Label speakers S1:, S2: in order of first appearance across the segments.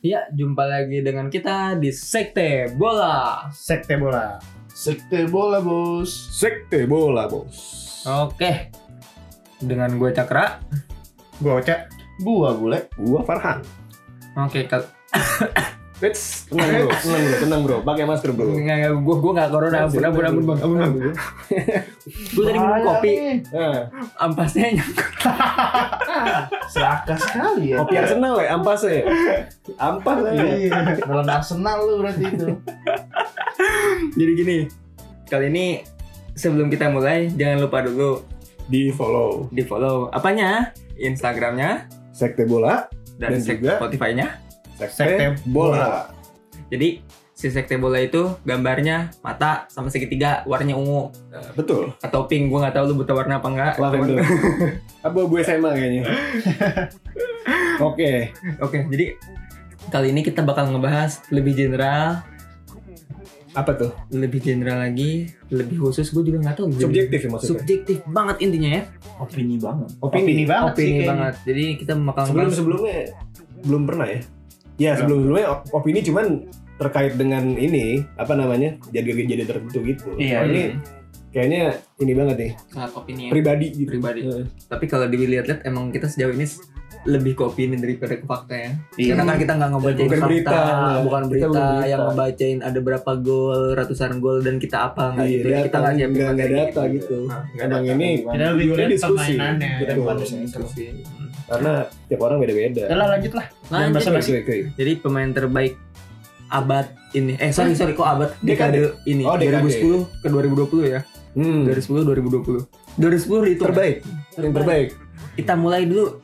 S1: Ya, jumpa lagi dengan kita di Sekte Bola.
S2: Sekte bola.
S3: Sekte bola bos.
S4: Sekte bola bos.
S1: Oke. Dengan gue Cakra.
S2: Gua Oca.
S3: Gua bule.
S4: Gua Farhan.
S1: Oke, kal
S4: Let's tenang bro, tenang bro, tenang bro. Pakai masker bro.
S1: Nggak, nggak, gue gue nggak corona, ampun ampun ampun bang, ampun ampun. Gue tadi minum
S3: Bahaya
S1: kopi,
S3: nih.
S4: Nah,
S1: ampasnya nyangkut.
S3: Serakah Ah, sekali ya.
S4: kopi Arsenal ya, ampas ya. Ampas ya.
S3: Iya. Dalam Arsenal lu berarti itu.
S1: Jadi gini, kali ini sebelum kita mulai jangan lupa dulu
S4: Di follow
S1: di follow apanya Instagramnya
S4: Sekte bola
S1: dan,
S4: Dan juga-
S1: Spotify-nya.
S4: Sekte,
S2: Sekte
S4: bola.
S1: Jadi si sekte bola itu gambarnya mata sama segitiga warnanya ungu
S4: Nah, betul.
S1: atau pink gue nggak tahu lu buta warna apa enggak
S4: Lavender. Abu-abu SMA kayaknya. Oke,
S1: Oke, jadi kali ini kita bakal ngebahas lebih general,
S4: apa tuh?
S1: lebih general lagi, lebih khusus. Gue juga nggak tahu.
S4: Subjektif ya maksudnya.
S1: Subjektif banget intinya ya.
S3: Opini banget.
S4: Opini.
S2: banget sih
S1: Opini
S2: kayaknya.
S1: banget. Jadi kita bakal
S4: Sebelum
S1: ngebahas-
S4: sebelumnya belum pernah ya. Ya sebelum sebelumnya opini cuman terkait dengan ini apa namanya jadi-jadi tertentu gitu.
S3: Iya,
S4: Oh, ini kayaknya ini banget nih
S1: Ya, sangat opini ya.
S4: pribadi gitu.
S1: pribadi.
S4: Heeh.
S1: Tapi kalau dilihat-lihat emang kita sejauh ini s- lebih ke opini daripada ke fakta ya.
S3: Iya.
S1: Karena kan kita nggak ngebacain
S4: Bukan
S1: fakta,
S4: berita,
S1: bukan
S4: kita
S1: berita,
S4: bukan berita.
S1: yang ngebacain ada berapa gol, ratusan gol dan kita apa nggak
S4: Iya,
S1: gitu. Kita nggak
S4: datang,
S1: siapin
S4: nggak- nggak
S1: materi
S4: data gitu.
S1: Nah, nggak
S4: Emang
S1: data.
S4: ini
S2: Kita
S3: Iya,
S2: lebih
S4: tujuannya
S2: lihat
S4: diskusi.
S2: permainannya Iya.
S4: Betul.
S3: daripada
S1: Diskusi.
S4: Karena tiap orang beda-beda. Iya,
S2: Udah lah lanjut lah.
S1: Nah,
S2: Jangan
S1: jadi-
S2: basa-basi.
S4: Oke, oke.
S1: Jadi pemain terbaik abad ini. Eh sorry sorry kok abad dekade, ini
S4: Oh, dekade.
S1: 2010 ke 2020 ya.
S4: Hmm.
S1: 2010 2020. 2010 itu
S4: Terbaik, yang terbaik.
S1: Kita mulai dulu.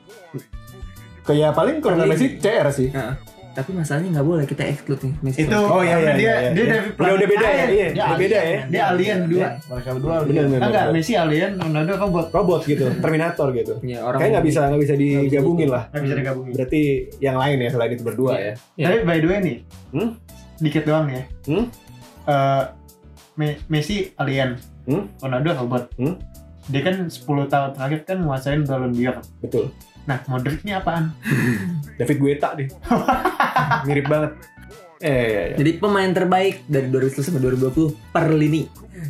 S4: Kayak paling kalau nggak
S1: Paling-
S4: Messi CR sih.
S1: Nah, tapi masalahnya nggak boleh kita exclude nih. Messi.
S2: Itu
S4: Oh, iya, iya,
S2: dia dia
S4: iya, iya.
S2: dari
S4: Udah- udah beda ya,
S2: Dia
S4: iya, udah beda
S2: alien.
S4: ya.
S2: Dia alien dua.
S3: Mereka berdua
S4: Bener,
S3: lihat.
S4: bener,
S2: Enggak,
S4: bener.
S2: Messi alien, Ronaldo robot.
S4: Robot gitu, Terminator gitu.
S1: Ya, orang
S4: Kayak nggak bisa nggak bisa gitu. digabungin lah.
S2: Enggak bisa
S3: Hmm.
S2: digabungin.
S4: Berarti yang lain ya selain itu berdua ya.
S1: Iya.
S2: Tapi by the way nih,
S4: Hmm?
S2: dikit doang ya.
S4: Hmm?
S2: Eh, Me- Messi alien,
S4: Hmm?
S2: Ronaldo robot.
S4: Hmm?
S2: Dia kan 10 tahun terakhir kan nguasain Ballon d'Or.
S4: Betul.
S2: Nah, Modric ini apaan?
S4: David Guetta deh. Mirip banget. Eh, iya, iya.
S1: Jadi pemain terbaik dari 2010 sampai 2020 per lini.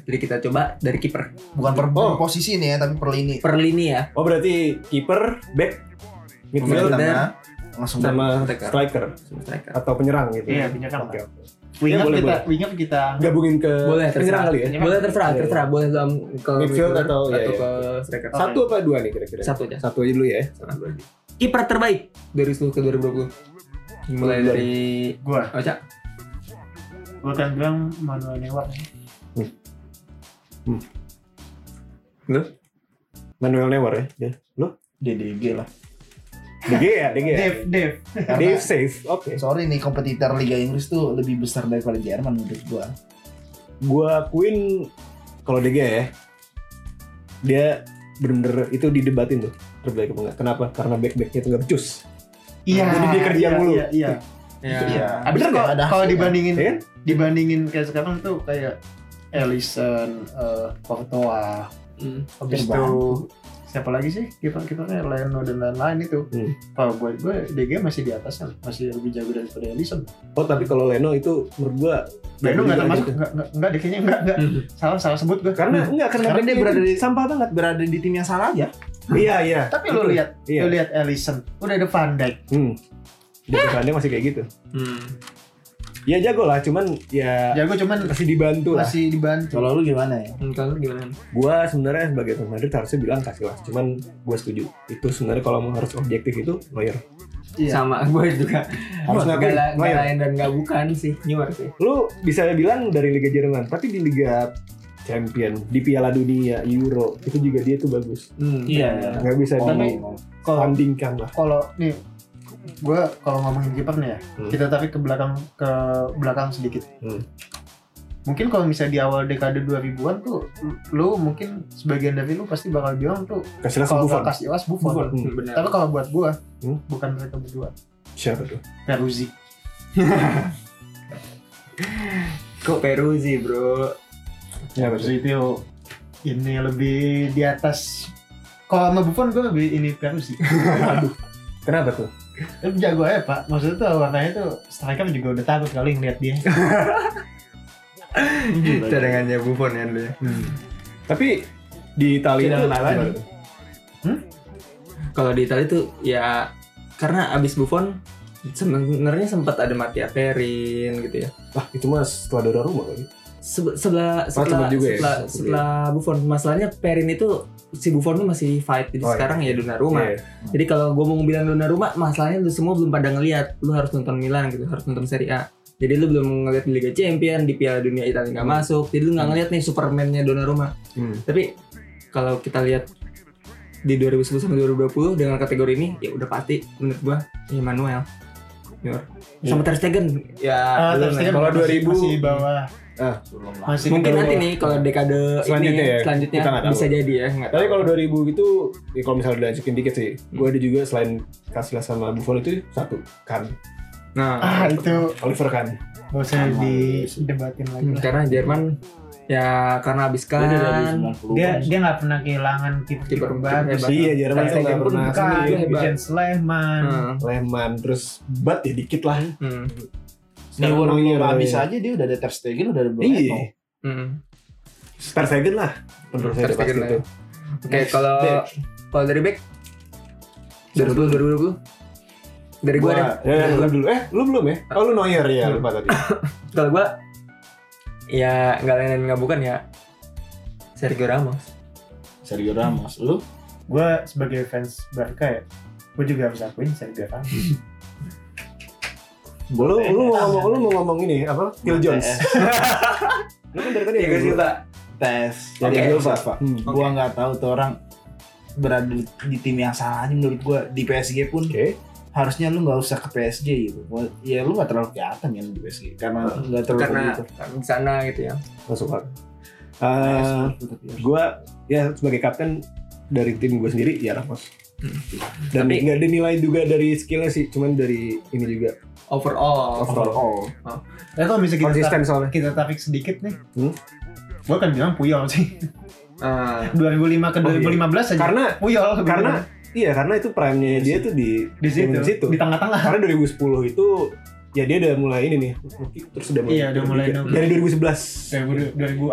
S1: Jadi kita coba dari kiper.
S3: Bukan per
S4: Oh.
S3: posisi nih ya, tapi per lini.
S1: Per lini ya.
S4: Oh berarti kiper, back,
S1: Pemain
S4: midfield
S1: tengah.
S3: langsung
S4: sama
S1: Striker.
S4: striker
S1: Striker.
S4: atau penyerang gitu.
S2: Iya,
S4: ya?
S2: punya kan.
S4: Oke, oke.
S2: Wing up kita,
S4: boleh, boleh.
S2: wing up kita.
S4: Gabungin ke
S1: Boleh terserah.
S4: penyerang kali ya.
S1: Boleh terserah,
S4: Iya.
S1: terserah. Boleh dalam ke
S4: Midfield atau- iya, iya.
S1: ke striker.
S2: Oke.
S4: Satu apa dua nih kira-kira?
S1: Satu aja.
S4: Satu aja dulu ya.
S1: kiper terbaik dari seluruh ke 2020 mulai dari
S2: Gua,
S1: Oca
S2: gua kan bilang Manuel Neuer.
S4: Manuel Neuer ya. ya. Lu?
S3: DDG lah.
S4: DG ya, DG ya.
S2: Dev, Dev.
S4: Dave says, oke.
S3: Sorry nih kompetitor Liga Inggris tuh lebih besar daripada Jerman menurut gua.
S4: Gua akuin kalau DG ya, dia bener-bener itu didebatin tuh terbaik apa enggak. Kenapa? Karena back-backnya itu nggak becus.
S2: Iya.
S4: Jadi dia kerja
S2: iya,
S4: mulu. Ah,
S2: Iya, iya.
S1: ya
S2: Abis
S4: Bener
S2: kalau,
S3: nggak ada
S2: kalau
S3: hasilnya?
S2: dibandingin
S4: Ya kan?
S2: dibandingin kayak sekarang tuh kayak Ellison, eh Courtois,
S1: Hmm.
S2: habis
S3: Terbaik.
S2: itu siapa lagi sih kiper kipernya Leno dan lain-lain itu.
S4: Hmm.
S2: Kalau buat gue DG masih di atas kan, masih lebih jago daripada Ellison.
S4: Oh tapi kalau Leno itu menurut gua
S2: Leno nggak termasuk,
S4: Gitu.
S2: nggak nggak nggak, deh, kayaknya nggak nggak
S1: Hmm.
S2: salah salah sebut gue.
S4: Karena enggak karena,
S3: Karena dia
S4: backnya
S3: berada
S4: itu
S3: di sampah banget, berada di tim yang salah aja.
S4: Iya iya.
S2: Hmm. Tapi lo lihat,
S4: Iya.
S2: lo lihat Ellison, udah ada Van Dijk.
S4: Hmm. Di depannya masih kayak gitu.
S1: Hmm.
S4: Ya jago lah, cuman ya
S2: Jago cuman
S4: masih dibantu lah.
S2: masih dibantu.
S3: Kalau lu gimana ya?
S1: Hmm, kalau lu gimana
S4: Gua sebenarnya sebagai fans Madrid harusnya bilang kasih lah. Cuman gua setuju. Itu sebenarnya kalau mau harus objektif itu lawyer.
S2: Iya.
S1: sama gue juga
S4: Harus
S1: Gua
S4: ngakuin,
S1: gala-
S4: Mayer.
S1: galain dan nggak bukan sih Newer sih
S4: Lu bisa bilang dari Liga Jerman, tapi di Liga Champion, di Piala Dunia, Euro, itu juga dia tuh bagus.
S1: hmm.
S4: Nah,
S3: Iya.
S4: Nggak bisa
S2: Tapi- Kalau
S4: disandingkan lah.
S2: kalau nih gue kalau ngomongin kiper nih ya
S4: Hmm.
S2: kita tarik ke belakang ke belakang sedikit
S4: Hmm.
S2: mungkin kalau misalnya di awal dekade 2000-an tuh lu mungkin sebagian dari lu pasti bakal bilang tuh
S4: Kasihlah
S2: kalau
S4: Buffon.
S2: nggak kasih was Buffon
S1: Buffon
S4: Hmm.
S1: benar
S2: tapi kalau buat gue
S4: Hmm.
S2: bukan mereka berdua
S4: Siapa tuh?
S2: Peruzzi
S1: kok Peruzzi bro
S4: Ya
S2: Terus itu ini lebih di atas kalau sama Buffon gue lebih ini Perus sih.
S4: Kenapa tuh?
S2: Tapi jago aja pak. Maksudnya tuh warnanya tuh striker juga udah takut kali ngeliat dia.
S1: Cadangannya Buffon ya dulu ya.
S4: Tapi di Italia
S2: Tidak
S4: itu
S2: kenal lagi.
S4: gimana tuh?
S1: Kalau di Italia tuh ya karena abis Buffon sebenarnya sempat ada Mattia Perin gitu ya.
S4: Wah itu mah setelah rumah lagi.
S1: Sebe- sebelah
S4: teman
S1: setelah
S4: juga ya?
S1: setelah,
S4: Oke.
S1: setelah Buffon masalahnya Perin itu si Buffon tuh masih fight jadi
S4: Oh, iya.
S1: sekarang ya Donnarumma. Jadi kalau gue mau bilang Donnarumma, masalahnya lu semua belum pada ngelihat. Lu harus nonton Milan gitu, harus nonton Serie A. Jadi lu belum ngelihat di Liga Champion, di Piala Dunia Italia nggak masuk. Jadi lu nggak ngelihat nih Superman-nya Donnarumma.
S4: Hmm.
S1: Tapi kalau kita lihat di 2010 sampai 2020 dengan kategori ini, ya udah pasti menurut gua Emmanuel. Junior. Sama
S4: Iya.
S1: Ter Stegen ya
S2: Ah,
S1: belum
S2: terus
S1: ya.
S2: dia
S4: Kalau
S2: masih-
S4: 2000,
S2: masih di bawah.
S3: Belum lah.
S2: Masih di
S1: Mungkin
S2: bawah.
S1: nanti nih kalau dekade
S4: Selanjutnya
S1: ini
S4: ya,
S1: selanjutnya
S4: kita nggak tahu.
S1: bisa jadi ya. nggak
S4: Tapi
S1: tahu.
S4: kalau 2000 itu, ya kalau misalnya dilanjutin dikit sih, gue ada juga selain Casillas sama Buffon itu satu kan,
S1: nah,
S2: Ah itu
S4: Oliver kan.
S2: gak usah
S3: Sama.
S2: didebatin lagi.
S1: hmm,
S2: lah.
S1: karena Jerman ya karena habis
S3: Dia
S1: kan
S3: dari 90-an.
S2: Dia dia nggak pernah kehilangan kiper
S1: Kiper
S2: bagus.
S1: hebat.
S4: Iya, Jerman
S1: Ter
S4: itu
S1: Stegen
S4: nggak
S1: pun
S4: pernah
S1: bukan. Ah.
S4: sendiri. Iya.
S1: hebat.
S2: Vincent Sleman.
S4: Hmm.
S1: Heeh.
S4: Lehman, terus Bat ya dikit lah.
S1: Hmm.
S3: Neuer
S4: Sekarang
S3: belum
S4: Neuer,
S3: habis
S4: iya.
S3: aja dia udah ada Ter Stegen udah ada Bruno.
S4: Iya,
S1: Hmm.
S4: Ter Stegen lah. Menurut saya
S1: Ter
S4: udah pasti
S1: Stegen lah
S4: itu.
S1: ya. Oke, kalau
S4: back.
S1: kalau dari back 2020 2020 dari gua ada.
S4: Gua- ya, ya, lu dulu. Eh, lu belum ya? Oh, lu Neuer ya, lupa tadi.
S1: Kalau gua ya nggak lain dan nggak bukan ya Sergio Ramos.
S3: Sergio Ramos. Lu
S2: Gue sebagai fans Barca ya, gue juga harus akuin Sergio Ramos.
S4: Lu lu mau ngomong lu mau ngomong ini apa? Phil Jones.
S3: TS.
S4: Lu kan dari tadi.
S1: Nah, eh. Iya,
S4: yang dulu.
S1: Pak.
S3: Tes.
S4: Yang
S1: Oke.
S4: di Phil
S3: Oke.
S4: Jones, Pak. Hmm.
S1: Oke.
S3: Gua nggak tahu tuh orang berada di, di tim yang salah aja menurut gua di PSG pun
S4: Oke.
S3: harusnya lu nggak usah ke PSG gitu. Gua- Ya lu nggak terlalu kelihatan ya di PSG karena nggak terlalu
S1: Karena
S3: gitu.
S1: di sana gitu ya.
S4: Masuk Pak. Eh, gue ya sebagai kapten dari tim gue sendiri ya Ramos dan
S1: Tapi-
S4: nggak ada nilai juga dari skillnya sih cuman dari ini juga
S1: Overall.
S3: Eh, overall.
S4: Nah,
S2: Tapi kalau misalnya kita,
S4: konsisten soalnya
S2: tar- kita tarik sedikit nih,
S4: Hmm?
S2: gue kan bilang Puyol sih.
S1: Ah,
S2: 2005 ke
S4: Oh, iya.
S2: 2015 aja.
S4: karena
S2: Puyol.
S4: karena iya karena itu prime-nya dia tuh di
S2: di situ,
S4: di situ.
S2: di tengah-tengah.
S4: karena 2010 itu ya dia udah mulai ini nih terus udah mulai
S2: Iya, udah mulai
S4: tiga.
S2: nongkrong.
S4: dari 2011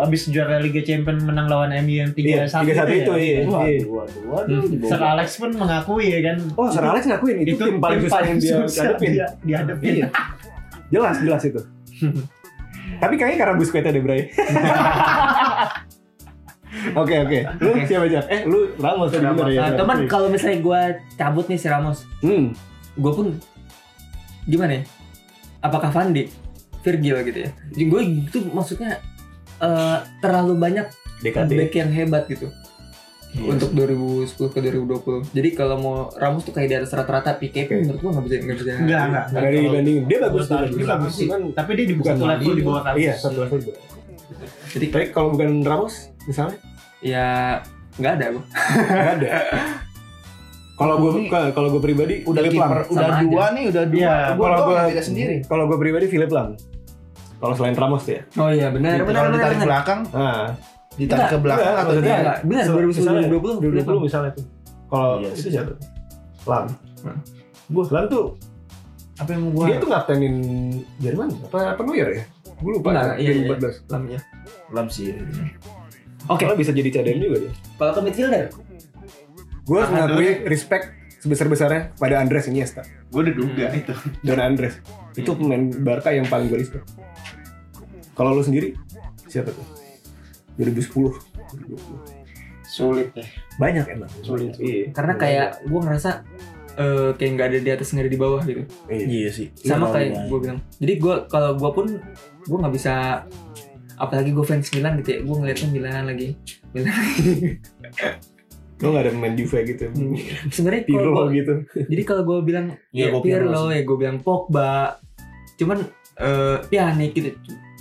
S2: 2000, 2000 abis juara Liga Champion menang lawan MU yang 3-1
S4: iya tiga satu itu
S2: ya.
S4: iya iya.
S3: Waduh, waduh, waduh.
S1: Hmm.
S3: di bawah.
S2: Sir Alex pun mengakui ya kan.
S4: oh Sir Alex ngakuin itu, tim paling susah yang dia
S2: susah
S4: hadapin
S2: dia- dihadapin.
S4: iya jelas jelas itu tapi kayaknya karena Busquets ada Bray Oke oke, lu
S1: Oke.
S4: siapa aja? Eh lu Ramos tadi bener ya?
S1: nah, teman kalau misalnya gua cabut nih si Ramos,
S4: Hmm,
S1: gua pun gimana ya? Apakah Van Dijk, Virgil gitu ya? Jadi gue itu maksudnya eh, terlalu banyak
S4: DKT.
S1: back yang hebat gitu.
S3: Iya.
S1: untuk 2010 ke 2020. Jadi kalau mau Ramos tuh kayak di atas rata-rata PKP
S4: Oke.
S1: menurut gua nggak bisa nggak bisa.
S2: Enggak, enggak.
S4: Ada yang dibandingin, dia bagus, dia bagus,
S2: Dia bagus sih.
S4: Cuman
S2: Tapi dia di
S4: bukan
S2: satu level di bawah Ramos.
S4: Iya, satu level di bawah.
S1: Jadi
S4: Tapi kalau bukan Ramos, misalnya
S1: ya nggak ada gua.
S4: nggak ada. Kalau gue kalau gue pribadi
S3: udah
S4: Philip
S3: kiper,
S4: Lahm.
S3: udah
S1: sama
S3: dua nih, udah dua.
S2: Iya,
S3: gua
S4: Kalau
S3: doang
S4: gue
S3: yang beda sendiri.
S1: Iya,
S4: Kalau gue pribadi Philip Lam. Kalau selain Ramos ya.
S1: Oh iya benar
S3: Gitu,
S1: benar
S3: kalau
S1: benar.
S3: ditarik
S1: benar.
S3: belakang,
S4: Nah,
S3: ditarik ke belakang
S4: enggak,
S3: atau
S4: maksudnya
S3: dia
S1: Iya, enggak. Benar
S4: So,
S1: 2010
S4: misalnya,
S1: 2020
S4: 2020 misalnya tuh. Kalau
S3: Iya,
S4: itu
S3: sih.
S4: siapa? Lam.
S1: Hmm.
S4: Gue Lam tuh
S3: apa yang mau gua
S1: Gitu.
S4: dia tuh ngaptenin Jerman apa apa Neuer ya? Gue lupa.
S1: Enggak, iya, iya.
S4: 2014.
S1: Lamnya.
S3: lam sih
S1: Oke,
S4: Soalnya bisa jadi cadangan juga dia.
S1: kalau ke midfielder
S4: Gue harus
S2: Tahan
S4: mengakui respect sebesar-besarnya pada Andres Iniesta
S2: Gue udah duga itu.
S4: dan Andres. Itu pemain Barca yang paling gue respect. Kalau lu sendiri siapa tuh? 2010. 2020.
S2: Sulit ya.
S4: Banyak emang.
S2: Sulit.
S4: Iya.
S1: karena kayak gua ngerasa eh kayak nggak ada di atas nggak ada di bawah gitu.
S4: Iya.
S3: iya sih
S1: Sama kayak gua bilang. Jadi gua kalau gua pun gua nggak bisa apalagi gue fans Milan gitu ya gue ngeliatnya Milan lagi Milan
S4: Lu gak ada pemain Juve gitu.
S1: sebenarnya kalau
S4: Pirlo
S1: gua-
S4: gitu.
S1: Jadi kalau gue bilang
S3: Iya,
S1: ya,
S3: gua Pirlo
S1: Pirlo, ya gue bilang Pogba, cuman eh ya nih gitu,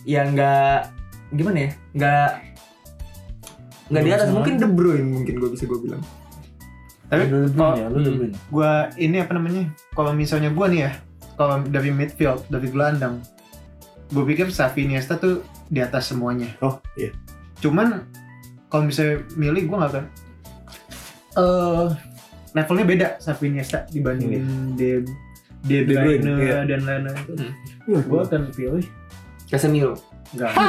S1: ya nggak gimana ya, nggak nggak di
S3: Nggak
S1: atas
S3: bisa
S1: mungkin De Bruyne mungkin gue bisa gue bilang.
S2: Tapi
S3: lu
S1: Oh,
S2: kalau
S3: ya lu
S1: hmm.
S3: lebih
S2: gue ini apa namanya? Kalau misalnya gue nih ya, kalau dari midfield, dari gelandang, gue pikir Xavi Iniesta tuh di atas semuanya.
S4: Oh iya.
S2: Cuman kalau bisa milih gue nggak akan. Eh, levelnya beda sama Iniesta dibandingin De De
S4: Hmm. De Bruyne,
S2: Bruyne
S4: iya.
S2: dan lain-lain.
S1: Hmm.
S2: Gue akan pilih
S1: Casemiro.
S2: Enggak. Ya,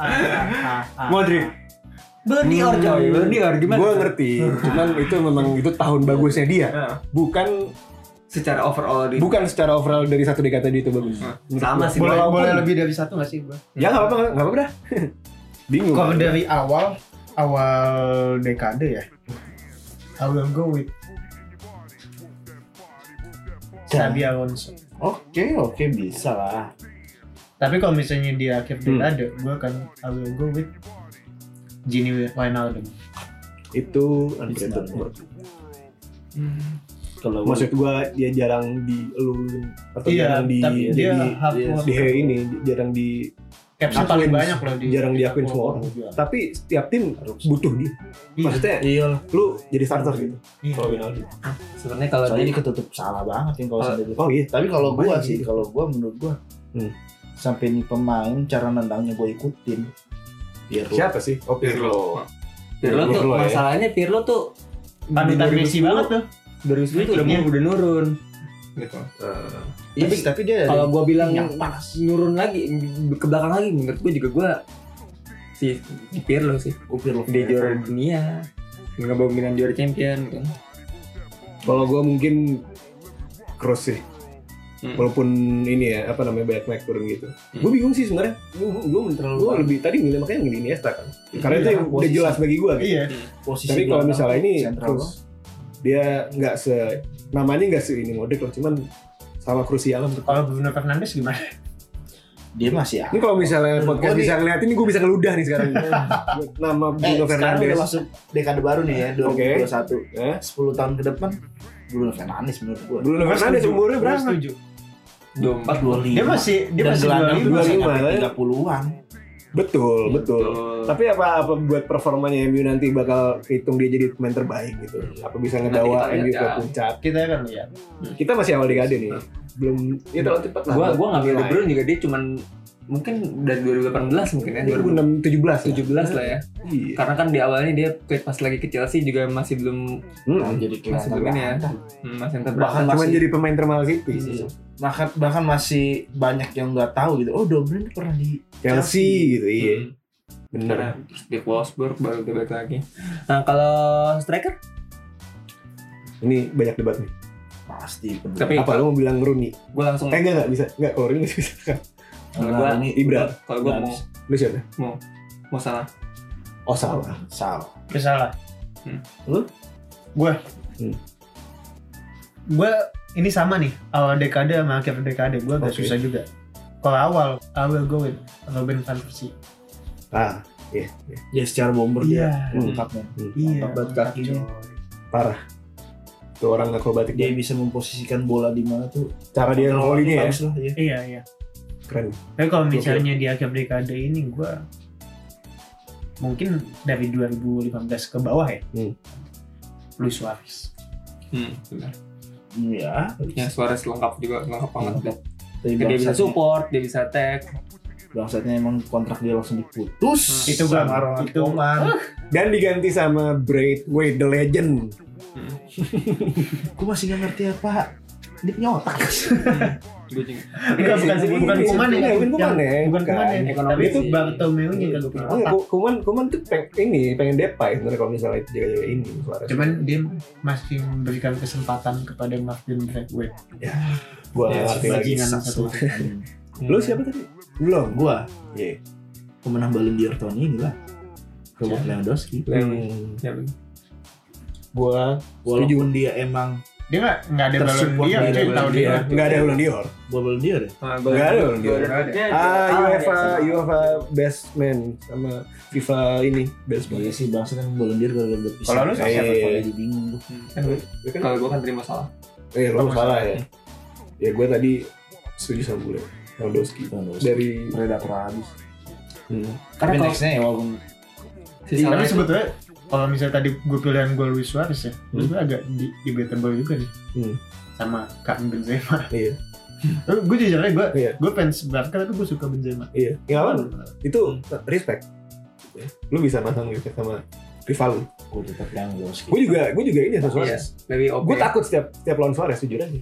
S1: Ah.
S4: Modric.
S1: Berdi or
S2: ya,
S1: Joy, Berdi or gimana?
S4: Gue Hmm. ngerti, cuman itu memang itu tahun bagusnya dia,
S1: Nah,
S4: bukan
S1: secara overall di
S4: bukan secara overall dari satu dekade dia itu bagus.
S1: Nah, sama sih.
S2: boleh
S1: Boy.
S2: boleh lebih dari satu nggak sih gue?
S4: Ya nggak apa-apa, nggak apa-apa dah. Bingung.
S2: Kalau dari awal awal dekade ya. I will go with Xabi Alonso.
S3: Oke, oke bisa lah.
S2: Tapi kalau misalnya di akhir
S4: Hmm.
S2: dekade, gue akan I will go with Gini Wijnaldum.
S4: itu
S2: Iya,
S4: unpredictable.
S1: Hmm.
S3: Kalau gua-
S4: Maksud gua dia jarang di elulun atau
S2: Iya,
S4: jarang di
S2: tapi
S4: di,
S2: dia
S4: di,
S2: half
S3: iya,
S2: world.
S4: di ini jarang di
S2: Capsnya
S4: Akuin.
S2: paling banyak loh di
S4: jarang diakuin semua orang. Tapi setiap tim butuh dia.
S2: Iya.
S4: Maksudnya
S1: Iya lah.
S4: lu jadi starter gitu.
S2: Iya.
S4: Kalau Wijnaldum.
S1: Sebenarnya kalau
S3: soalnya
S1: di
S3: ini ketutup salah banget yang kalau
S1: Oh,
S3: sampai
S4: Oh iya.
S3: Ah, tapi kalau gua
S4: Banyak
S3: sih
S4: gitu.
S3: kalau gua menurut gua
S4: Hmm.
S3: sampai nih pemain cara nendangnya gua ikutin biar lu-
S4: Siapa sih? Oh Pirlo.
S1: Pirlo tuh
S4: Pirlo ya.
S1: masalahnya Pirlo tuh
S2: Panutan Messi banget tuh.
S1: 2010 tuh udah
S2: Iya.
S1: udah nurun. Gitu. Iya,
S4: Eh.
S3: tapi, Iya.
S1: sih.
S3: tapi dia
S1: kalau gua bilang
S3: yang panas
S1: nurun lagi ke belakang lagi menurut gua juga gua si Pirlo sih.
S4: Oh,
S3: upir lu
S1: Dia juara dunia. Ngebawa Milan juara champion kan.
S4: Kalau gua mungkin cross sih.
S1: Hmm.
S4: Walaupun ini ya apa namanya banyak naik turun gitu.
S1: Hmm.
S4: Gua bingung sih sebenarnya. Gua gua, gua lebih tadi milih makanya milih Iniesta kan. Karena itu
S3: Iya,
S4: yang udah
S3: posisi.
S4: jelas bagi gua gitu.
S2: Iya.
S3: posisi
S4: Tapi kalau
S3: belakang,
S4: misalnya ini
S3: sentral
S4: Cruz, dia nggak se namanya nggak se ini model lah cuman sama krusial lah.
S2: Kalau Bruno Fernandes gimana?
S3: dia masih ya
S4: Ini kalau misalnya
S3: Menurut
S4: podcast
S3: gua
S4: bisa ngeliat ini gue bisa ngeludah nih sekarang. Nama
S3: eh,
S4: Bruno
S3: sekarang udah
S4: Fernandes.
S3: masuk dekade baru nih ya 2021
S4: Eh,
S3: 10 tahun ke depan Bruno Fernandes menurut gua
S4: Bruno Fernandes
S2: Setuju.
S4: umurnya
S2: Gua
S4: berapa? Iya.
S2: Setuju.
S1: 24
S3: 25
S2: Dia masih dia
S3: dan
S2: masih
S3: gelandang
S2: 25.
S3: juga masih
S4: 25,
S3: sampai
S4: ya.
S3: 30-an
S4: Betul,
S1: Iya.
S4: betul.
S1: Betul.
S4: Tapi apa apa buat performanya MU nanti bakal hitung dia jadi pemain terbaik gitu. Apa bisa
S1: Nanti kita
S4: ngebawa
S1: lihat
S4: MU ke
S1: ya.
S4: puncak?
S2: Kita kan, ya. akan lihat.
S4: Kita masih awal dekade nih. Belum ya terlalu cepat lah.
S1: gua gua ngambil De
S4: Nilai.
S1: Bruyne juga dia cuman mungkin dari 2018
S4: Iya,
S1: mungkin ya 2017
S4: 2006
S1: lah ya
S4: 17. Iya.
S1: karena kan di awalnya dia ke- pas lagi ke Chelsea juga masih belum
S3: Nah,
S4: Hmm.
S3: jadi
S1: masih
S3: kelihatan
S1: belum ini ya
S3: banget.
S1: Hmm, masih yang terberat
S3: bahkan
S4: Cuman
S3: masih
S4: jadi pemain termahal City.
S3: Iya. bahkan bahkan masih banyak yang nggak tahu gitu oh Dobrin pernah di
S4: Chelsea gitu, iya.
S1: Hmm.
S4: Bener.
S1: karena terus di Wolfsburg baru dia balik lagi nah kalau striker
S4: Ini banyak debat nih.
S3: pasti
S1: tapi
S4: Apa lu mau bilang Rooney?
S1: gue langsung
S4: Eh enggak enggak bisa. Enggak, kalau Rooney masih bisa.
S1: kalau
S3: Nah,
S1: gua
S3: ini
S4: Ibra.
S1: kalau gue
S3: Nggak
S1: mau
S3: bisa.
S4: Lu siapa?
S1: mau salah
S4: Oh salah.
S3: Salah.
S2: Kesalah.
S1: Hmm.
S3: Lu?
S2: Gue.
S4: Hmm.
S2: Gue ini sama nih awal dekade sama akhir dekade gue agak
S4: Oke.
S2: susah juga. Kalau awal I will go with Robin van Persie.
S4: Ah, hmm. iya. iya.
S3: Ya secara bomber dia
S2: Iya.
S3: lengkapnya.
S2: Iya.
S3: Mantap banget
S2: mantap,
S3: kakinya.
S2: coy.
S4: Itu orang akrobatik
S3: Dia
S4: dia.
S3: bisa memposisikan bola di mana tuh.
S4: Cara dia
S3: Kontrolnya
S4: rollingnya ya.
S3: bagus lah, iya.
S2: Iya iya.
S4: Keren.
S2: Tapi kalau misalnya di akhir dekade ini gue mungkin dari 2015 ke bawah ya.
S4: Hmm.
S2: Luis Suarez.
S1: hmm, benar.
S3: Hmm,
S4: Iya.
S3: Ya.
S1: ya suara lengkap juga lengkap banget
S3: Mantap. Tapi
S1: dia bisa
S3: bangsatnya,
S1: support dia bisa attack
S3: bangsatnya emang kontrak dia langsung diputus.
S1: Hmm.
S2: Itu gua-
S3: Sama Ronald
S2: itu-
S3: Koeman.
S4: Dan diganti sama Braithwaite the Legend.
S3: Gua masih nggak ngerti apa. Dia punya otak.
S1: gue juga
S2: Bukan, bukan, bukan,
S1: Iya,
S2: bukan Kuman ya.
S4: Bukan Iya, Kuman
S2: Yang-
S4: ya.
S2: Bukan Kuman ya.
S1: Ekonomi
S2: Tapi itu
S1: sih.
S2: Bartomeu nya kagak punya
S4: Enggak,
S2: otak.
S4: Kuman Kuman tuh peng, ini pengen depai sebenarnya kalau misalnya itu jaga jaga ini suara.
S2: Cuman dia masih memberikan kesempatan kepada Martin Braithwaite.
S4: gua
S3: Ya,
S4: ngerti lagi.
S2: bajingan
S3: Saks
S2: satu.
S3: lah. Hmm.
S4: Lu siapa tadi? Belum.
S3: Gua
S4: Iya.
S3: ya, pemenang Ballon d'Or tahun ini lah. Robert Lewandowski.
S4: Hmm.
S1: Ya, benar.
S4: Gua
S3: Walaupun dia emang
S2: Dia nggak nggak ada balon
S3: Tersupport
S2: dia
S3: dari
S2: cuy
S3: Ballon
S2: tahun dia.
S4: Iya, nggak ada Ballon d'Or.
S3: Ballon d'Or ya.
S1: Nah,
S4: Nggak ada orang
S1: gua-
S4: dia.
S1: gua- gua-
S4: Ah,
S1: gua-
S4: UEFA,
S1: iya, sama-
S4: UEFA best man sama FIFA ini best man.
S3: Sebagai sih bangsa yang Ballon d'Or gara-gara udah pisah.
S2: Kalau lu
S4: siapa?
S3: Iya. Jadi bingung gua.
S1: Hmm.
S4: Ya kan?
S1: kalau gue kan terima salah
S4: Eh, lu
S2: Kamu
S4: salah ya. Ya gue tadi setuju sama gue. Lewandowski
S3: Lewandowski.
S4: dari
S3: predator habis.
S4: hmm,
S3: Tapi
S1: Karena kalau-
S3: nextnya ya walaupun
S1: si
S4: iya.
S1: salah
S2: Tapi
S1: itu-
S2: sebetulnya kalau misalnya tadi gue pilihan gue Luis Suarez ya,
S4: Hmm.
S2: gue agak di debatable juga nih.
S4: Hmm.
S2: Sama Karim Benzema.
S4: iya.
S2: gue jujur aja gue
S4: Iya.
S2: gue fans Barca tapi gue suka Benzema
S4: Iya. Ya kan? Itu
S1: Hmm.
S4: respect. Ya. Lu bisa masang respect sama rival lu.
S3: Gue tetap yang gue
S4: Gue juga gue juga ini sama Suarez.
S1: Lebih Iya. oke.
S4: Gue takut setiap setiap lawan Suarez jujur aja.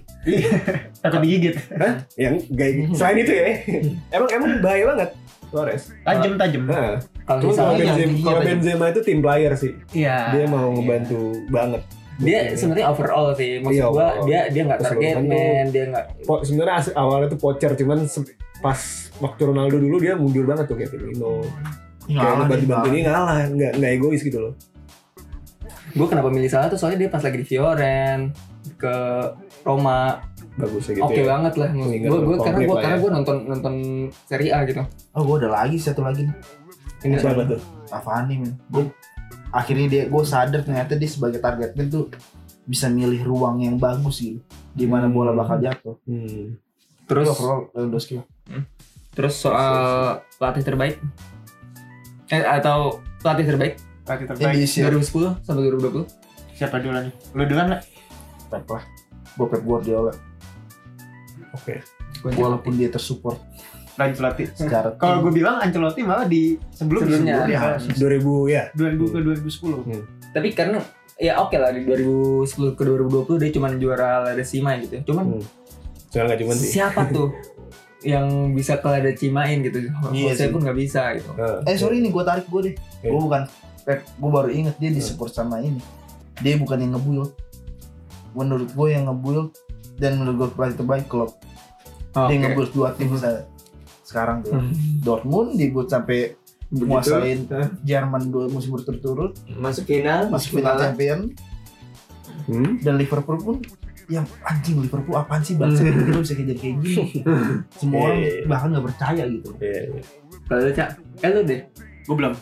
S2: takut digigit
S4: Yang gay selain itu ya. emang emang bahaya banget Suarez.
S2: tajam tajam
S4: Nah,
S1: Kalau
S4: cuma kalau
S1: misalnya
S4: Benzema,
S1: iya,
S4: kalau
S1: Benzema.
S4: Benzema itu tim player sih.
S1: Iya.
S4: Dia mau ngebantu banget.
S1: Dia sebenarnya overall sih. Maksud
S4: Iya,
S1: gua
S4: overall.
S1: dia dia nggak target
S4: Keseluruhan
S1: man, dia nggak
S4: Po- sebenarnya as- awalnya tuh pocher cuman se- pas waktu Ronaldo dulu dia mundur banget tuh kayak Firmino.
S1: Hmm.
S4: Kayak bantu-bantu ini ngalah, nggak nggak egois gitu loh.
S1: Gue kenapa milih salah tuh soalnya dia pas lagi di Fioren ke Roma
S4: Bagusnya gitu.
S1: oke
S4: ya.
S1: banget lah maksud
S4: Mengingat
S1: gue gue
S4: konflik
S1: karena gue
S4: lah ya.
S1: karena gue nonton nonton seri A gitu
S3: Oh gue ada lagi satu lagi nih
S1: ini
S4: Siapa tuh?
S3: Cavani men Gue akhirnya dia gue sadar ternyata dia sebagai target man tuh bisa milih ruang yang bagus gitu di mana bola bakal jatuh.
S4: Hmm.
S1: terus
S3: Itu overall Lewandowski.
S1: terus soal pelatih terbaik eh, atau pelatih terbaik
S2: pelatih terbaik
S3: Indonesia.
S1: 2010 sampai 2020
S2: siapa duluan nih lu duluan lah
S3: Pep lah. Gue Pep Guardiola.
S4: Oke.
S3: Walaupun dia tersupport
S2: Ancelotti
S3: secara Ya,
S2: kalau gue bilang Ancelotti malah di sebelum
S1: Sebelumnya.
S2: sebelumnya.
S4: 2000 ya.
S2: 2000 ke 2010
S1: tapi karena ya oke lah di 2010 ke 2020 dia cuma juara Lada Sima gitu cuman
S4: Hmm. Soalnya nggak cuma sih.
S1: siapa tuh yang bisa ke Lada Cimain gitu
S3: Iya
S1: Jose
S3: sih.
S1: pun nggak bisa gitu
S4: Ah.
S3: Eh sorry nih gue tarik gue deh.
S4: Iya.
S3: Gue bukan Pep. Gue baru inget dia disupport sama ini. Dia bukan yang ngebuild. Menurut gue yang ngebuild dan menurut gue pelatih terbaik klub. Dia
S1: Oke.
S3: ngebuild dua tim se- sekarang
S1: Hmm.
S3: tuh. Dortmund dibuat sampai menguasain Jerman dua musim berturut-turut,
S1: masuk final
S3: masuk final champion
S4: Hmm?
S3: dan Liverpool pun yang anjing Liverpool apaan sih bangsa tiba bisa kayak jadi kayak gini semua orang
S4: Iya, iya.
S3: bahkan nggak percaya gitu
S4: Iya.
S1: kalau lu cak eh lu deh
S2: gue belum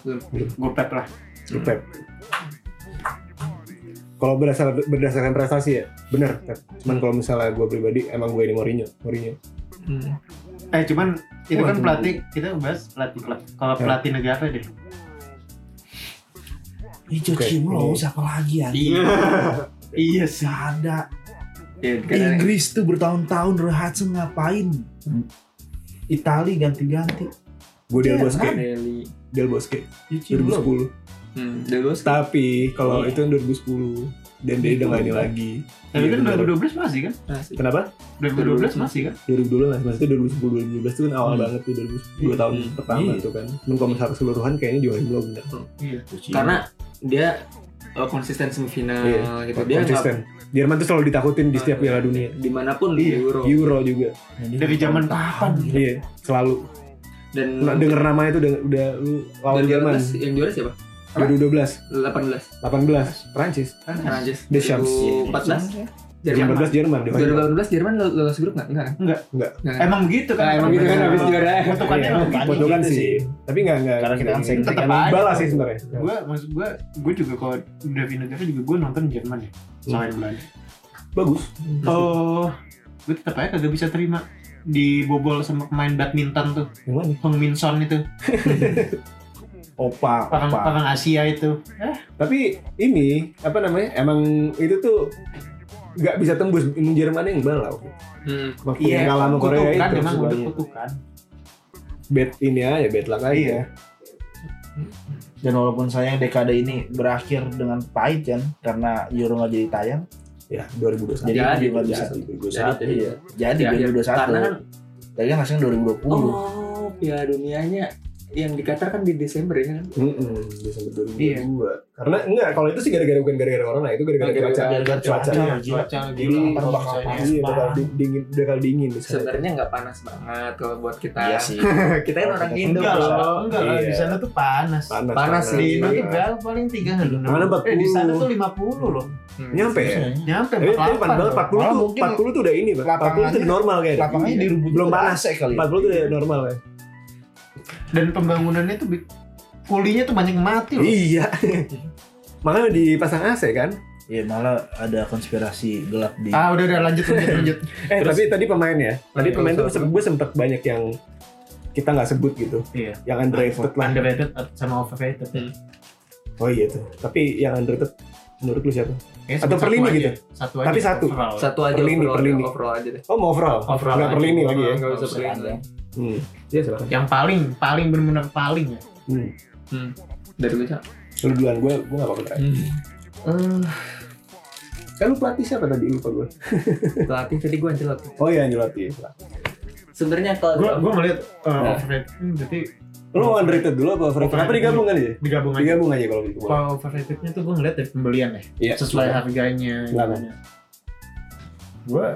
S2: gue pep lah
S4: Lu Pep. Kalau berdasarkan berdasarkan prestasi ya, benar. Pep. Cuman kalau misalnya gue pribadi, emang gue ini Mourinho, Mourinho.
S2: eh cuman itu kan
S4: Waduh.
S2: pelatih kita bahas pelatih klub kalau
S4: Ya.
S2: pelatih negara deh
S3: Ih
S4: Oke,
S3: Joachim Low
S4: ini.
S3: siapa lagi ya?
S2: iya iya sih
S3: Gak ada.
S1: ya, karena-
S3: Inggris tuh bertahun-tahun Roy Hudson ngapain? Itali ganti-ganti.
S4: Gue Del
S3: Iya,
S4: Bosque,
S3: kan?
S1: Deli.
S4: Del Bosque,
S3: Joachim Low.
S4: 2010.
S1: Hmm, Del Bosque.
S4: Tapi kalau
S3: Iya.
S4: itu yang 2010 dan dia udah nggak ini lagi.
S2: tapi
S4: Iya,
S2: kan
S4: benar.
S2: 2012 masih kan
S1: Asik.
S4: Kenapa?
S2: 2012 masih kan
S4: 2012 mas, maksudnya 2010 2012 itu kan awal
S3: Hmm.
S4: banget tuh 2010 dua tahun
S1: Hmm.
S4: pertama
S3: Iya.
S4: tuh kan. Cuman kalau misalnya keseluruhan kayaknya Joachim Low benar.
S1: karena dia uh, konsisten semifinal
S4: Iya,
S1: gitu dia
S4: Konsisten. Jerman tuh selalu ditakutin di setiap
S1: Ah, iya.
S4: Piala Dunia.
S1: nggak- dimanapun di
S2: Iya.
S1: Euro
S4: Euro juga.
S3: Ya,
S2: dari zaman kapan
S3: gitu.
S4: Iya, selalu.
S1: dan
S4: Nah, denger namanya tuh udah, udah lu lawan
S1: dan
S4: Jerman.
S1: 18, yang juara siapa
S4: 2012,
S1: 18
S4: 18, Prancis.
S1: Prancis
S4: Deschamps.
S1: 2014 Jerman
S4: 14 Jerman dia.
S1: 2018 Jerman lo- lolos grup nggak? Enggak kan?
S2: enggak
S4: Enggak.
S2: emang begitu kan
S1: Nah, emang gitu kan habis juara.
S2: kutukannya
S4: Iya,
S2: emang gitu.
S4: Potongan
S3: gitu
S4: sih. Tapi enggak enggak.
S3: Karena kita kan
S4: tetap
S2: sering-
S4: balas sih sebenarnya.
S2: gue maksud gue gue juga kalau David Negara juga gue nonton Jerman ya sama yang Belanda
S4: Bagus.
S2: oh gue tetap aja kagak bisa terima dibobol sama pemain badminton tuh
S4: Yang mana?
S2: Hong Min Son itu
S3: Opa,
S2: orang
S3: opa.
S2: orang Asia itu
S4: Tapi ini apa namanya? Emang itu tuh nggak bisa tembus Emang Jerman yang balau.
S1: Hmm.
S4: Waktu yang kalah sama Korea
S2: Iya, kutukan
S4: itu
S2: emang udah kan.
S4: semuanya.
S2: kutukan
S4: bad ini aja, bad luck aja.
S2: Iya.
S3: Dan walaupun sayang dekade ini berakhir dengan pahit kan karena Euro nggak jadi tayang,
S4: Ya, 2021.
S3: jadi
S1: Jadi,
S3: juga nggak bisa.
S1: Jadi, jadi.
S3: Iya. Jadi
S1: Ya, ya.
S3: 2021.
S1: Karena kan
S3: Tadi kan ngasihnya 2020.
S1: oh Piala Dunianya yang di Qatar kan di Desember ya kan?
S4: Mm-mm, Desember 2022.
S2: Iya.
S4: Karena enggak, kalau itu sih gara-gara bukan gara-gara corona, itu gara-gara
S1: Gara-gara
S4: cuaca.
S3: gara-gara cuaca.
S4: Cuaca.
S2: Iya, cuaca gitu.
S4: Jadi,
S2: gila
S3: bakal
S2: bakal
S3: panas
S4: Iya, bakal di- dingin, bakal dingin di sana.
S1: Sebenarnya nggak panas banget kalau buat kita.
S3: Iya sih.
S1: Kita kan orang
S3: Enggak
S1: Indo.
S2: enggak
S1: bro.
S2: lah enggak lah di
S4: Iya.
S2: sana tuh panas Iya.
S4: Panas, Iya.
S1: Panas
S2: di
S1: sih.
S2: Indo tuh berapa paling tiga
S4: Mana
S2: eh di sana
S4: 40.
S2: tuh 50 loh
S1: Hmm.
S4: Nyampe ya?
S2: nyampe
S4: Tapi tapi
S2: 48
S4: panas banget,
S2: loh.
S4: 40
S3: Malah
S4: tuh,
S3: mungkin
S4: 40 tuh udah ini, Pak. 40 tuh
S3: lapangannya-
S4: normal kayaknya.
S3: Lapangannya direbut
S4: Belum panas.
S3: AC ya kali.
S4: 40 tuh udah normal ya.
S2: dan pembangunannya tuh bi- kulinya tuh banyak yang mati loh
S4: Iya. Makanya dipasang AC kan?
S3: Iya, malah ada konspirasi gelap di
S2: ah udah udah lanjut lanjut lanjut
S4: Eh tapi tadi pemain ya. Tadi
S1: Iya,
S4: pemain tuh
S1: iya.
S4: gue sempet banyak yang kita nggak sebut gitu.
S2: Iya.
S4: Yang underrated lah.
S2: underrated sama overrated
S4: Oh iya tuh. Tapi yang underrated Menurut lu siapa?
S2: Kayaknya
S4: Atau
S2: satu
S4: per lini
S2: aja.
S4: gitu?
S2: Satu
S4: Tapi
S2: aja,
S4: satu.
S2: overall.
S1: Satu aja
S4: Perlini,
S1: overall,
S4: perlini.
S1: overall aja deh.
S4: Oh mau overall?
S2: Overall
S4: Nggak
S2: aja.
S4: perlini lagi ya?
S1: Enggak usah perlini
S3: Ada.
S1: lah.
S4: Hmm.
S1: Iya, silakan.
S2: Yang paling, paling benar-benar paling ya.
S4: hmm. Hmm.
S1: Hmm. Dari lu, Cak.
S4: Lu duluan, gue gue gak apa-apa
S1: Eh,
S4: Kan lu pelatih siapa tadi? Lupa gue
S1: pelatih tadi gua Ancelotti.
S4: Oh iya, Ancelotti
S1: Sebenarnya kalau
S2: Gue gue melihat uh,
S4: Nah.
S2: overrated. Hmm, berarti
S4: Lu mau underrated dulu apa? overrated? Kenapa digabung kan ya?
S2: digabung aja.
S4: Digabung aja kalau gitu
S2: Kalau overratednya tuh gue ngeliat dari pembelian ya.
S4: Iya
S2: Sesuai harganya. gitu kan.
S4: Silakan.
S2: gimana. Gue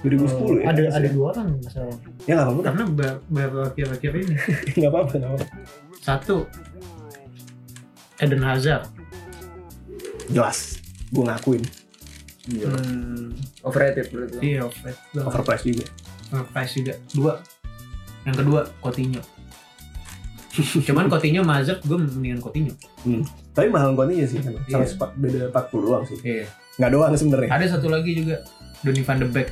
S4: 2010 ya?
S2: ada ada dua orang masalah.
S4: Ya gak apa-apa
S2: Karena ba- baru akhir-akhir ini
S4: Gak apa-apa nggak apa-apa.
S2: satu Eden Hazard.
S4: Jelas Gue ngakuin
S3: Gila.
S2: Hmm,
S1: overrated menurut
S4: Hmm.
S1: gua.
S2: iya, overrated. banget.
S4: Overpriced juga
S2: Price juga dua yang kedua Coutinho cuman Coutinho sama Hazard gue mendingan Coutinho
S4: Tapi mahal kontennya sih kan
S2: Iya.
S4: Sama sepa- beda 40 doang sih
S2: iya
S4: Gak doang sebenarnya.
S2: ada satu lagi juga Donny van de Beek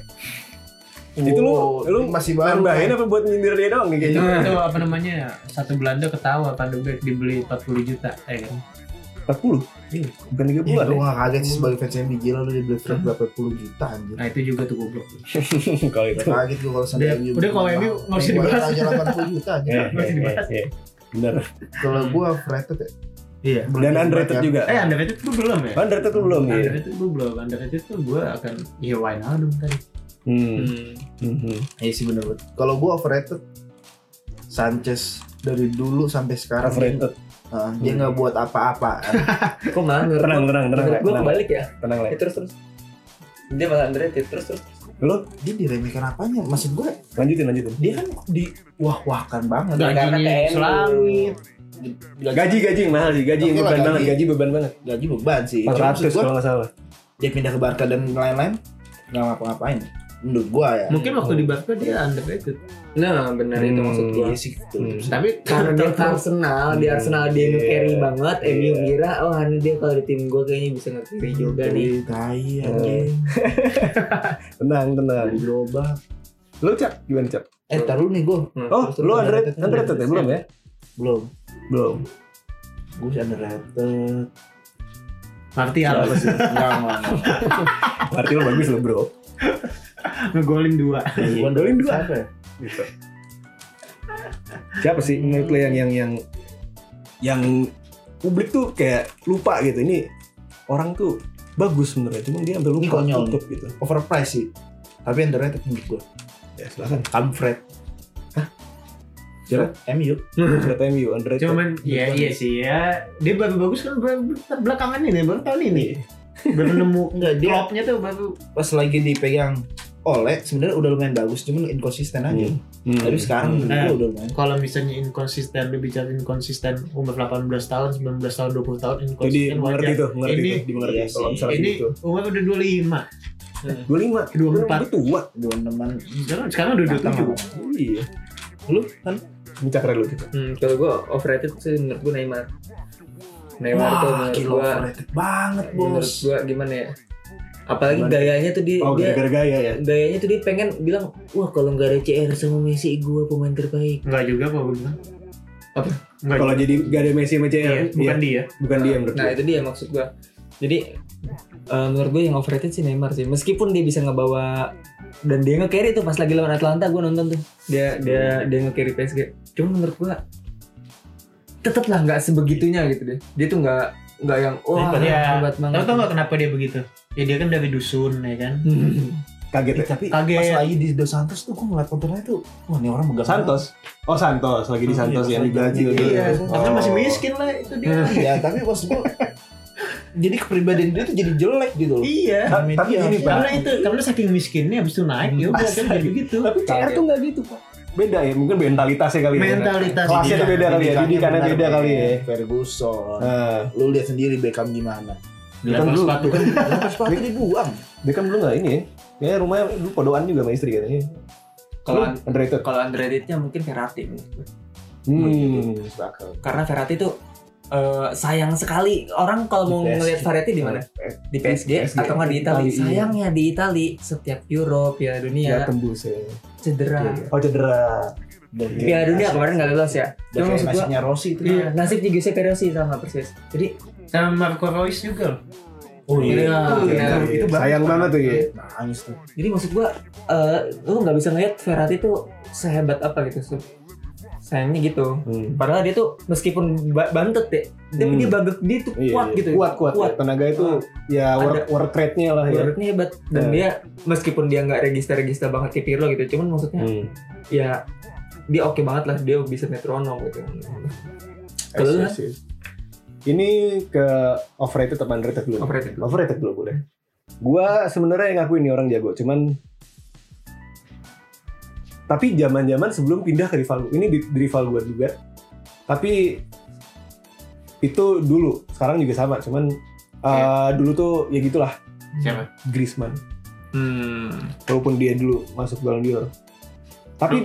S4: Itu lu-
S3: Wow,
S4: lu
S3: Oh, ini masih baru.
S4: Nambahin apa buat nyindir dia doang nih
S2: itu,
S4: kayaknya
S2: itu apa namanya satu Belanda ketawa van de Beek dibeli 40 juta ya kan
S4: 40?
S2: Iya.
S4: Bukan 30
S3: Gua
S4: an
S3: nggak kaget sih sebagai fans MU gila lu dia beli frame berapa puluh juta anjir.
S2: nah itu juga tuh goblok
S4: ya? Kalau
S2: Iya,
S4: itu
S3: Kaget gua kalau sampai
S2: Udah- udah kalau MU nggak usah dibahas.
S3: Aja 80 juta anjir.
S4: Iya, iya, iya, iya. Bener
S3: Kalau gua overrated ya.
S2: iya
S4: Dan underrated
S3: Banyak.
S4: juga
S2: eh underrated tuh belum ya
S4: Oh, Underrated tuh belum ya?
S2: underrated tuh belum underrated tuh gue akan iya Wijnaldum tadi
S4: Hmm.
S1: Hmm.
S4: Mhm.
S3: Iya sih bener banget. Kalau gua overrated Sanchez dari dulu sampai sekarang dia-
S4: Overrated.
S3: Heeh, dia nggak buat apa-apa.
S1: Kok malah menurut
S4: Tenang,
S1: gua-
S4: tenang, tenang,
S1: menurut gua
S4: Lek, tenang.
S1: kebalik ya.
S4: Tenang, Lek.
S1: Eh, terus terus. Dia malah underrated terus terus.
S4: Lu
S3: dia diremehkan apanya? Maksud gue
S4: lanjutin, lanjutin.
S3: dia kan di wah-wahkan banget.
S2: Gajinya
S1: Karena kayak
S2: selangit.
S4: Gaji, gaji yang mahal sih. Gaji yang
S3: Oke lah,
S4: beban
S3: gaji.
S4: banget. Gaji beban banget.
S3: Gaji beban sih. Cuma
S4: 400
S3: maksud gua,
S4: kalau nggak salah.
S3: dia pindah ke Barca dan lain-lain nggak ngapa-ngapain. Menurut gua ya.
S2: mungkin waktu di Barca dia underrated
S1: Nah, benar itu maksud gua.
S3: Iya sih gitu.
S4: Hmm.
S2: tapi
S1: karena dia ke Arsenal di Arsenal dia
S4: Iya.
S1: nge-carry banget
S4: Iya. Hmm,
S1: MU kira oh ini dia kalau di tim gue kayaknya bisa nge-carry juga nih
S3: Tai anjing.
S4: Tenang, tenang.
S3: Gerobak.
S4: Lu, Cak? Gimana, Cak?
S3: Eh taruh nih gue
S1: Nah,
S4: Oh,
S1: terus
S4: lu underrated,
S3: underrated,
S4: underrated ya? Belum ya?
S3: belum.
S4: Belum.
S3: Gue sih underrated.
S2: Martial
S4: Iya.
S3: Apa sih? Enggak enggak.
S4: Berarti lu bagus lu, bro.
S2: ngegolin dua
S3: Gue
S4: Golin dua.
S3: Siapa ya?
S4: Gitu. Siapa sih
S3: Hmm.
S4: menurut lu yang yang yang yang publik tuh kayak lupa gitu. Ini orang tuh bagus sebenarnya, cuman dia ambil
S3: Ini
S4: lupa
S3: konyol.
S4: tutup gitu.
S3: Overpriced sih. Tapi underrated menurut gue.
S4: Ya, silakan.
S3: Comfort.
S4: Siapa?
S3: MU.
S4: Kata MU underrated.
S2: cuman ya iya sih ya dia baru bagus kan baru belakangan ini baru tahun ini
S4: Iya.
S2: baru nemu
S3: Enggak dia
S2: klopnya tuh baru
S3: pas lagi dipegang oleh sebenarnya udah lumayan bagus cuman inkonsisten aja.
S4: Hmm.
S3: Tapi sekarang
S4: Hmm.
S3: menurut
S2: Nah.
S3: gue udah lumayan.
S2: kalau misalnya inkonsisten lu bicara inkonsisten umur 18 tahun 19 tahun 20 tahun
S4: Jadi
S2: inkonsisten
S4: mengerti
S2: wajar
S4: tuh, mengerti
S2: Ini-
S4: tuh, dimengerti
S3: iya sih.
S4: kalau misalnya
S2: ini
S4: gitu.
S2: umur udah 25
S4: Gue lima,
S2: 24.
S4: gue tua.
S3: Dua teman
S2: sekarang sekarang udah
S4: Iya.
S3: Lu kan
S4: Ini cakra lu gitu.
S1: hmm, kalau gue overrated sih menurut gue Neymar Neymar tuh
S3: Wah,
S1: menurut
S3: gila
S1: gue
S3: overrated banget,
S1: menurut
S3: Bos.
S1: gue gimana ya apalagi
S4: Gimana?
S1: gayanya tuh dia,
S4: Oh,
S1: dia
S4: gara-gara gaya ya.
S1: gayanya tuh dia pengen bilang wah kalau nggak ada CR sama Messi gue pemain terbaik
S2: 25 enggak juga kok gue bilang
S1: Apa?
S2: enggak
S4: Kalau
S2: juga.
S4: jadi gak ada Messi sama
S2: Iya,
S4: CR,
S2: bukan
S4: bukan,
S2: dia
S4: bukan dia menurut
S1: nah
S4: gue.
S1: itu dia maksud gue jadi eh, menurut gue yang overrated sih Neymar sih meskipun dia bisa ngebawa dan dia nge-carry tuh pas lagi lawan Atlanta gue nonton tuh dia dia dia nge-carry PSG cuma menurut gue tetep lah nggak sebegitunya gitu deh dia tuh nggak nggak yang wah
S2: Iya.
S1: hebat banget
S2: Tahu tau gak kenapa dia begitu? Ya dia kan dari dusun ya kan.
S4: Kaget
S3: Eh,
S4: ya.
S3: tapi
S2: Kaget.
S3: pas lagi di Dos Santos tuh gue ngeliat kontennya tuh wah ini orang megang
S4: Santos. Oh Santos, lagi di
S3: Oh,
S4: Santos
S3: iya,
S4: yang di Brazil dulu.
S2: Iya,
S4: Oh.
S2: karena masih miskin lah itu dia.
S3: banget. ya tapi pas gue jadi kepribadian dia tuh jadi jelek gitu loh
S2: iya.
S4: Ta-
S3: Media.
S4: Tapi gini Pak,
S2: Karena itu, karena saking miskinnya habis itu naik ya udah kan jadi gitu.
S4: tapi CR tuh nggak gitu Pak. Beda ya, mungkin mentalitasnya kali ya.
S2: Mentalitas
S4: Kelasnya tuh beda kali ya,
S3: Didikannya
S4: didikannya
S3: benar,
S4: beda
S3: men.
S4: kali ya.
S3: Ferguson
S4: Nah,
S3: lu lihat sendiri Beckham gimana
S4: kan
S2: Lepas
S4: dulu.
S2: sepatu kan
S3: lepas sepatu dibuang
S4: dia kan dulu nggak ini ya. Kayaknya rumahnya dulu podoan juga sama istri katanya.
S1: kalau
S4: Lu underrated.
S1: kalau underratednya mungkin Ferrati menurut gue.
S4: Hmm.
S1: karena Ferrati tuh eh, sayang sekali orang kalau mau
S4: Di PSG.
S1: ngelihat Ferrati di mana
S4: Eh,
S1: di PSG,
S4: PSG.
S1: atau nggak di Italia
S4: Itali, iya.
S1: eh, sayangnya di Italia setiap Euro Piala Dunia
S4: Ya tembus ya.
S1: cedera
S4: Oh cedera.
S3: Iya,
S1: Piala Dunia kemarin
S4: iya.
S1: nggak lolos ya. Cuma maksud gua
S3: nasibnya Rossi itu
S1: iya, nasib di Giuseppe Rossi sama persis. Jadi
S5: Sama Marco Reus juga loh.
S4: Oh iya.
S1: iya.
S4: Itu sayang banget tuh ya.
S3: nangis tuh
S1: Jadi maksud gua eh, lu nggak bisa ngeliat Ferrari tuh sehebat apa gitu. Se- Sayangnya gitu. Padahal dia tuh meskipun ba- bantet ya, tapi
S4: Hmm.
S1: dia bagek dia tuh
S4: Iya,
S1: kuat
S4: iya.
S1: gitu.
S4: Kuat, kuat.
S1: Kuat. Ah. Iya.
S4: Tenaga itu ya work, work rate-nya lah ya.
S1: Menurutnya hebat dan
S4: Ya.
S1: dia meskipun dia nggak register-register banget kayak Pirlo gitu, cuman maksudnya
S4: Hmm.
S1: ya dia oke banget lah dia bisa metronom gitu. Kalau lu,
S4: I see, I see. Ini ke overrated atau underrated dulu?
S1: Overrated.
S4: Overrated dulu boleh. Gua sebenarnya yang ngakuin nih orang jago, cuman tapi zaman-zaman sebelum pindah ke rival gua. ini di, di rival gua juga. Tapi itu dulu, sekarang juga sama, cuman eh, dulu tuh ya gitulah
S5: Siapa?
S4: Griezmann.
S5: Hmm.
S4: Walaupun dia dulu masuk Ballon d'Or. Tapi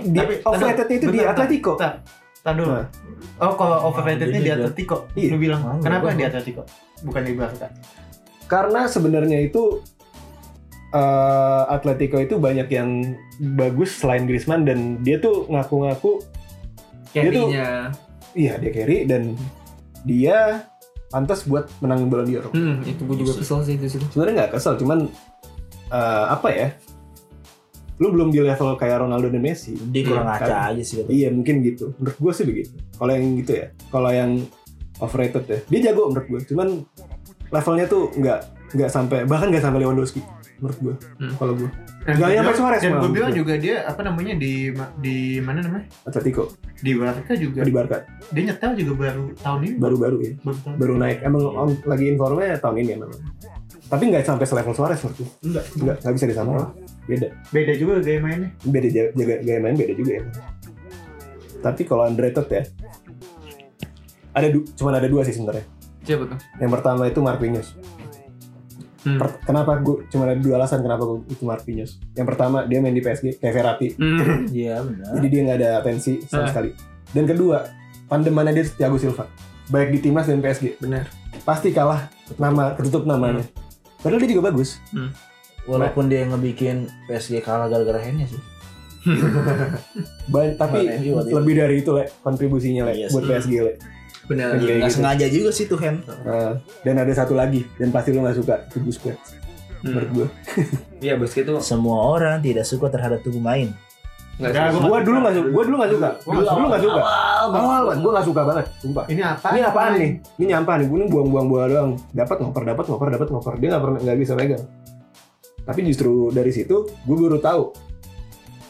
S5: Tapi-
S4: dia
S5: tapi-
S4: overratednya itu di
S5: bentar,
S4: Atletico.
S5: bentar. Tahan dulu.
S4: Nah.
S5: Oh kalau overratednya
S3: Jadi
S5: di
S3: dia-
S5: Atletico,
S4: Iya.
S5: lu bilang
S3: Mau,
S5: kenapa
S3: mau.
S5: di Atletico? Bukan di Barca.
S4: karena sebenarnya itu eh, Atletico itu banyak yang bagus selain Griezmann dan dia tuh ngaku-ngaku
S1: carry-nya.
S4: iya dia carry dan dia pantas buat menang Ballon d'Or.
S1: Hmm, itu gue juga kesel sih itu sih.
S4: Sebenarnya nggak kesel cuman eh, apa ya? Lu belum di level kayak Ronaldo dan Messi.
S3: dia kurang
S4: Iya,
S3: aja aja sih
S4: Iya mungkin gitu. Menurut gue sih begitu. Kalau yang gitu ya. Kalau yang overrated ya. Dia jago menurut gue. Cuman levelnya tuh nggak nggak sampai bahkan nggak sampai Lewandowski menurut gue.
S1: Hmm.
S4: Kalau gue
S5: Dan
S4: Nggak
S5: gua
S4: nyampe
S5: bilang-
S4: Suarez
S5: Dan gue
S4: malah.
S5: bilang juga dia apa namanya di ma- di mana namanya?
S4: Atletico
S5: Di Barca juga.
S4: di Barca
S5: Dia nyetel juga baru tahun ini.
S4: baru-baru ya.
S5: Baru tahun.
S4: baru naik emang om- lagi informnya tahun ini emang tapi nggak sampai selevel Suarez menurut gue
S5: Enggak.
S4: nggak nggak bisa disamain beda
S5: Beda juga gaya mainnya.
S4: beda ja- jaga gaya main beda juga ya tapi kalau underrated ya ada du- cuman ada dua sih sebenarnya
S1: Siapa tuh?
S4: yang pertama itu Marquinhos
S1: Hmm.
S4: Per- kenapa gue cuma ada dua alasan kenapa gue itu Marquinhos yang pertama dia main di PSG kayak Verratti
S1: Hmm.
S3: iya benar
S4: jadi dia nggak ada pensi sama
S1: Ah.
S4: sekali dan kedua pandemannya dia Thiago Silva baik di timnas dan PSG
S1: Benar.
S4: pasti kalah nama ketutup
S1: Hmm.
S4: namanya padahal dia juga bagus
S3: walaupun dia ngebikin PSG kalah gara-gara Henya sih
S4: Ban- tapi
S3: Kemarin, iya, iya.
S4: lebih dari itu le kontribusinya le
S3: Iya sih.
S4: buat PSG le
S1: Benar.
S4: Iya,
S3: nggak
S4: gitu.
S3: sengaja juga sih tuh Hen
S4: Nah, dan ada satu lagi dan pasti lu nggak suka itu Busquets menurut
S1: Hmm.
S4: gue
S1: Iya, Basket tuh
S3: semua orang tidak suka terhadap tubuh main
S1: enggak
S5: Nah,
S1: sih.
S5: gua-
S4: gue dulu nggak suka gue dulu nggak suka
S5: Gua
S4: dulu
S5: nggak
S4: dulu nggak suka
S1: Awal banget.
S4: awal gue nggak suka banget sumpah
S5: Ini apa?
S4: ini apaan nih ini nyampah nih gue ini buang-buang bola doang dapat ngoper dapat ngoper dapat ngoper dia nggak pernah nggak bisa megang tapi justru dari situ gue baru tahu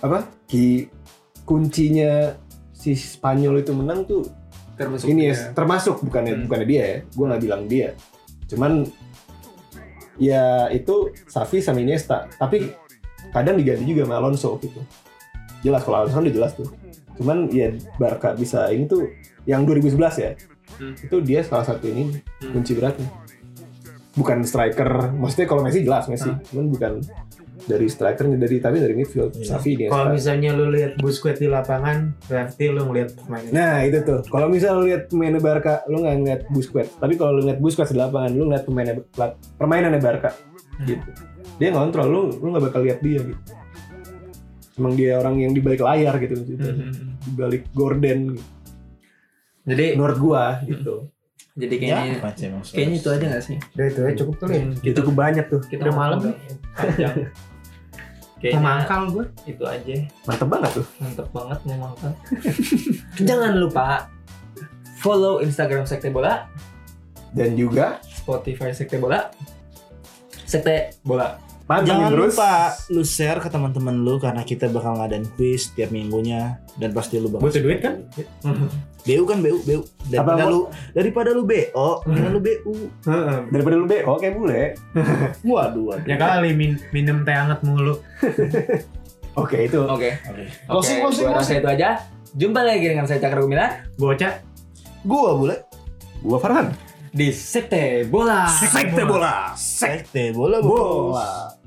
S4: apa ki kuncinya si Spanyol itu menang tuh
S1: termasuk
S4: ini ya
S1: dia.
S4: termasuk bukannya
S1: Hmm.
S4: bukannya dia ya gue nggak bilang dia cuman ya itu Safi sama Iniesta tapi kadang diganti juga sama Alonso gitu jelas kalau Alonso kan udah jelas tuh cuman ya Barca bisa ini tuh yang 2011 ya
S1: Hmm.
S4: itu dia salah satu ini
S1: Hmm.
S4: kunci beratnya bukan striker maksudnya kalau Messi jelas Messi
S1: Hmm.
S4: cuman bukan dari strikernya dari tapi dari midfield
S3: Iya.
S4: Safi Iniesta
S5: Kalau misalnya lu lihat Busquets di lapangan, berarti lu ngeliat permainan.
S4: Nah itu tuh, kalau misal lu lihat pemainnya Barca, lu nggak ngeliat Busquets. Tapi kalau lu ngeliat Busquets di lapangan, lu ngeliat pemainnya pela- permainannya Barca. Gitu. Dia ngontrol, lu lu nggak bakal lihat dia gitu. Emang dia orang yang di balik layar gitu, gitu.
S1: Hmm.
S4: di balik gorden. Gitu.
S1: Jadi
S4: Menurut gua gitu.
S1: jadi kayaknya
S3: ya macam emang Suarez.
S1: kayaknya itu aja nggak sih?
S5: Udah itu ya cukup kali ya.
S4: Itu kebanyak tuh,
S1: Kita
S5: Udah
S1: mau-
S5: malam nih.
S1: panjang.
S5: Mau
S1: Kayaknya
S5: mangkal gue.
S1: itu aja.
S4: mantep banget tuh.
S1: Mantap banget mau makan. Jangan lupa follow Instagram Sekte Bola,
S4: Dan juga
S1: Spotify Sekte Bola, Sekte Bola.
S4: pantengin
S3: Jangan
S4: terus.
S3: lupa lu share ke teman-teman lu karena kita bakal ngadain quiz tiap minggunya dan pasti lu bakal
S5: Butuh duit kan?
S1: Hmm.
S3: BU kan BU BU daripada
S4: Apa,
S3: lu daripada lu BO mendingan lu BU
S4: Daripada lu be, oke boleh.
S3: waduh waduh
S5: Ya kali min- minum teh hangat mulu.
S4: Oke itu.
S1: Oke.
S3: Oke.
S1: Oke, gua rasa itu aja. Jumpa lagi dengan saya Cakra Gumilar
S5: Gocak.
S3: gua boleh
S4: Gua Farhan.
S1: di Sekte Bola.
S3: sekte bola sekte bola, bola.
S4: Bola.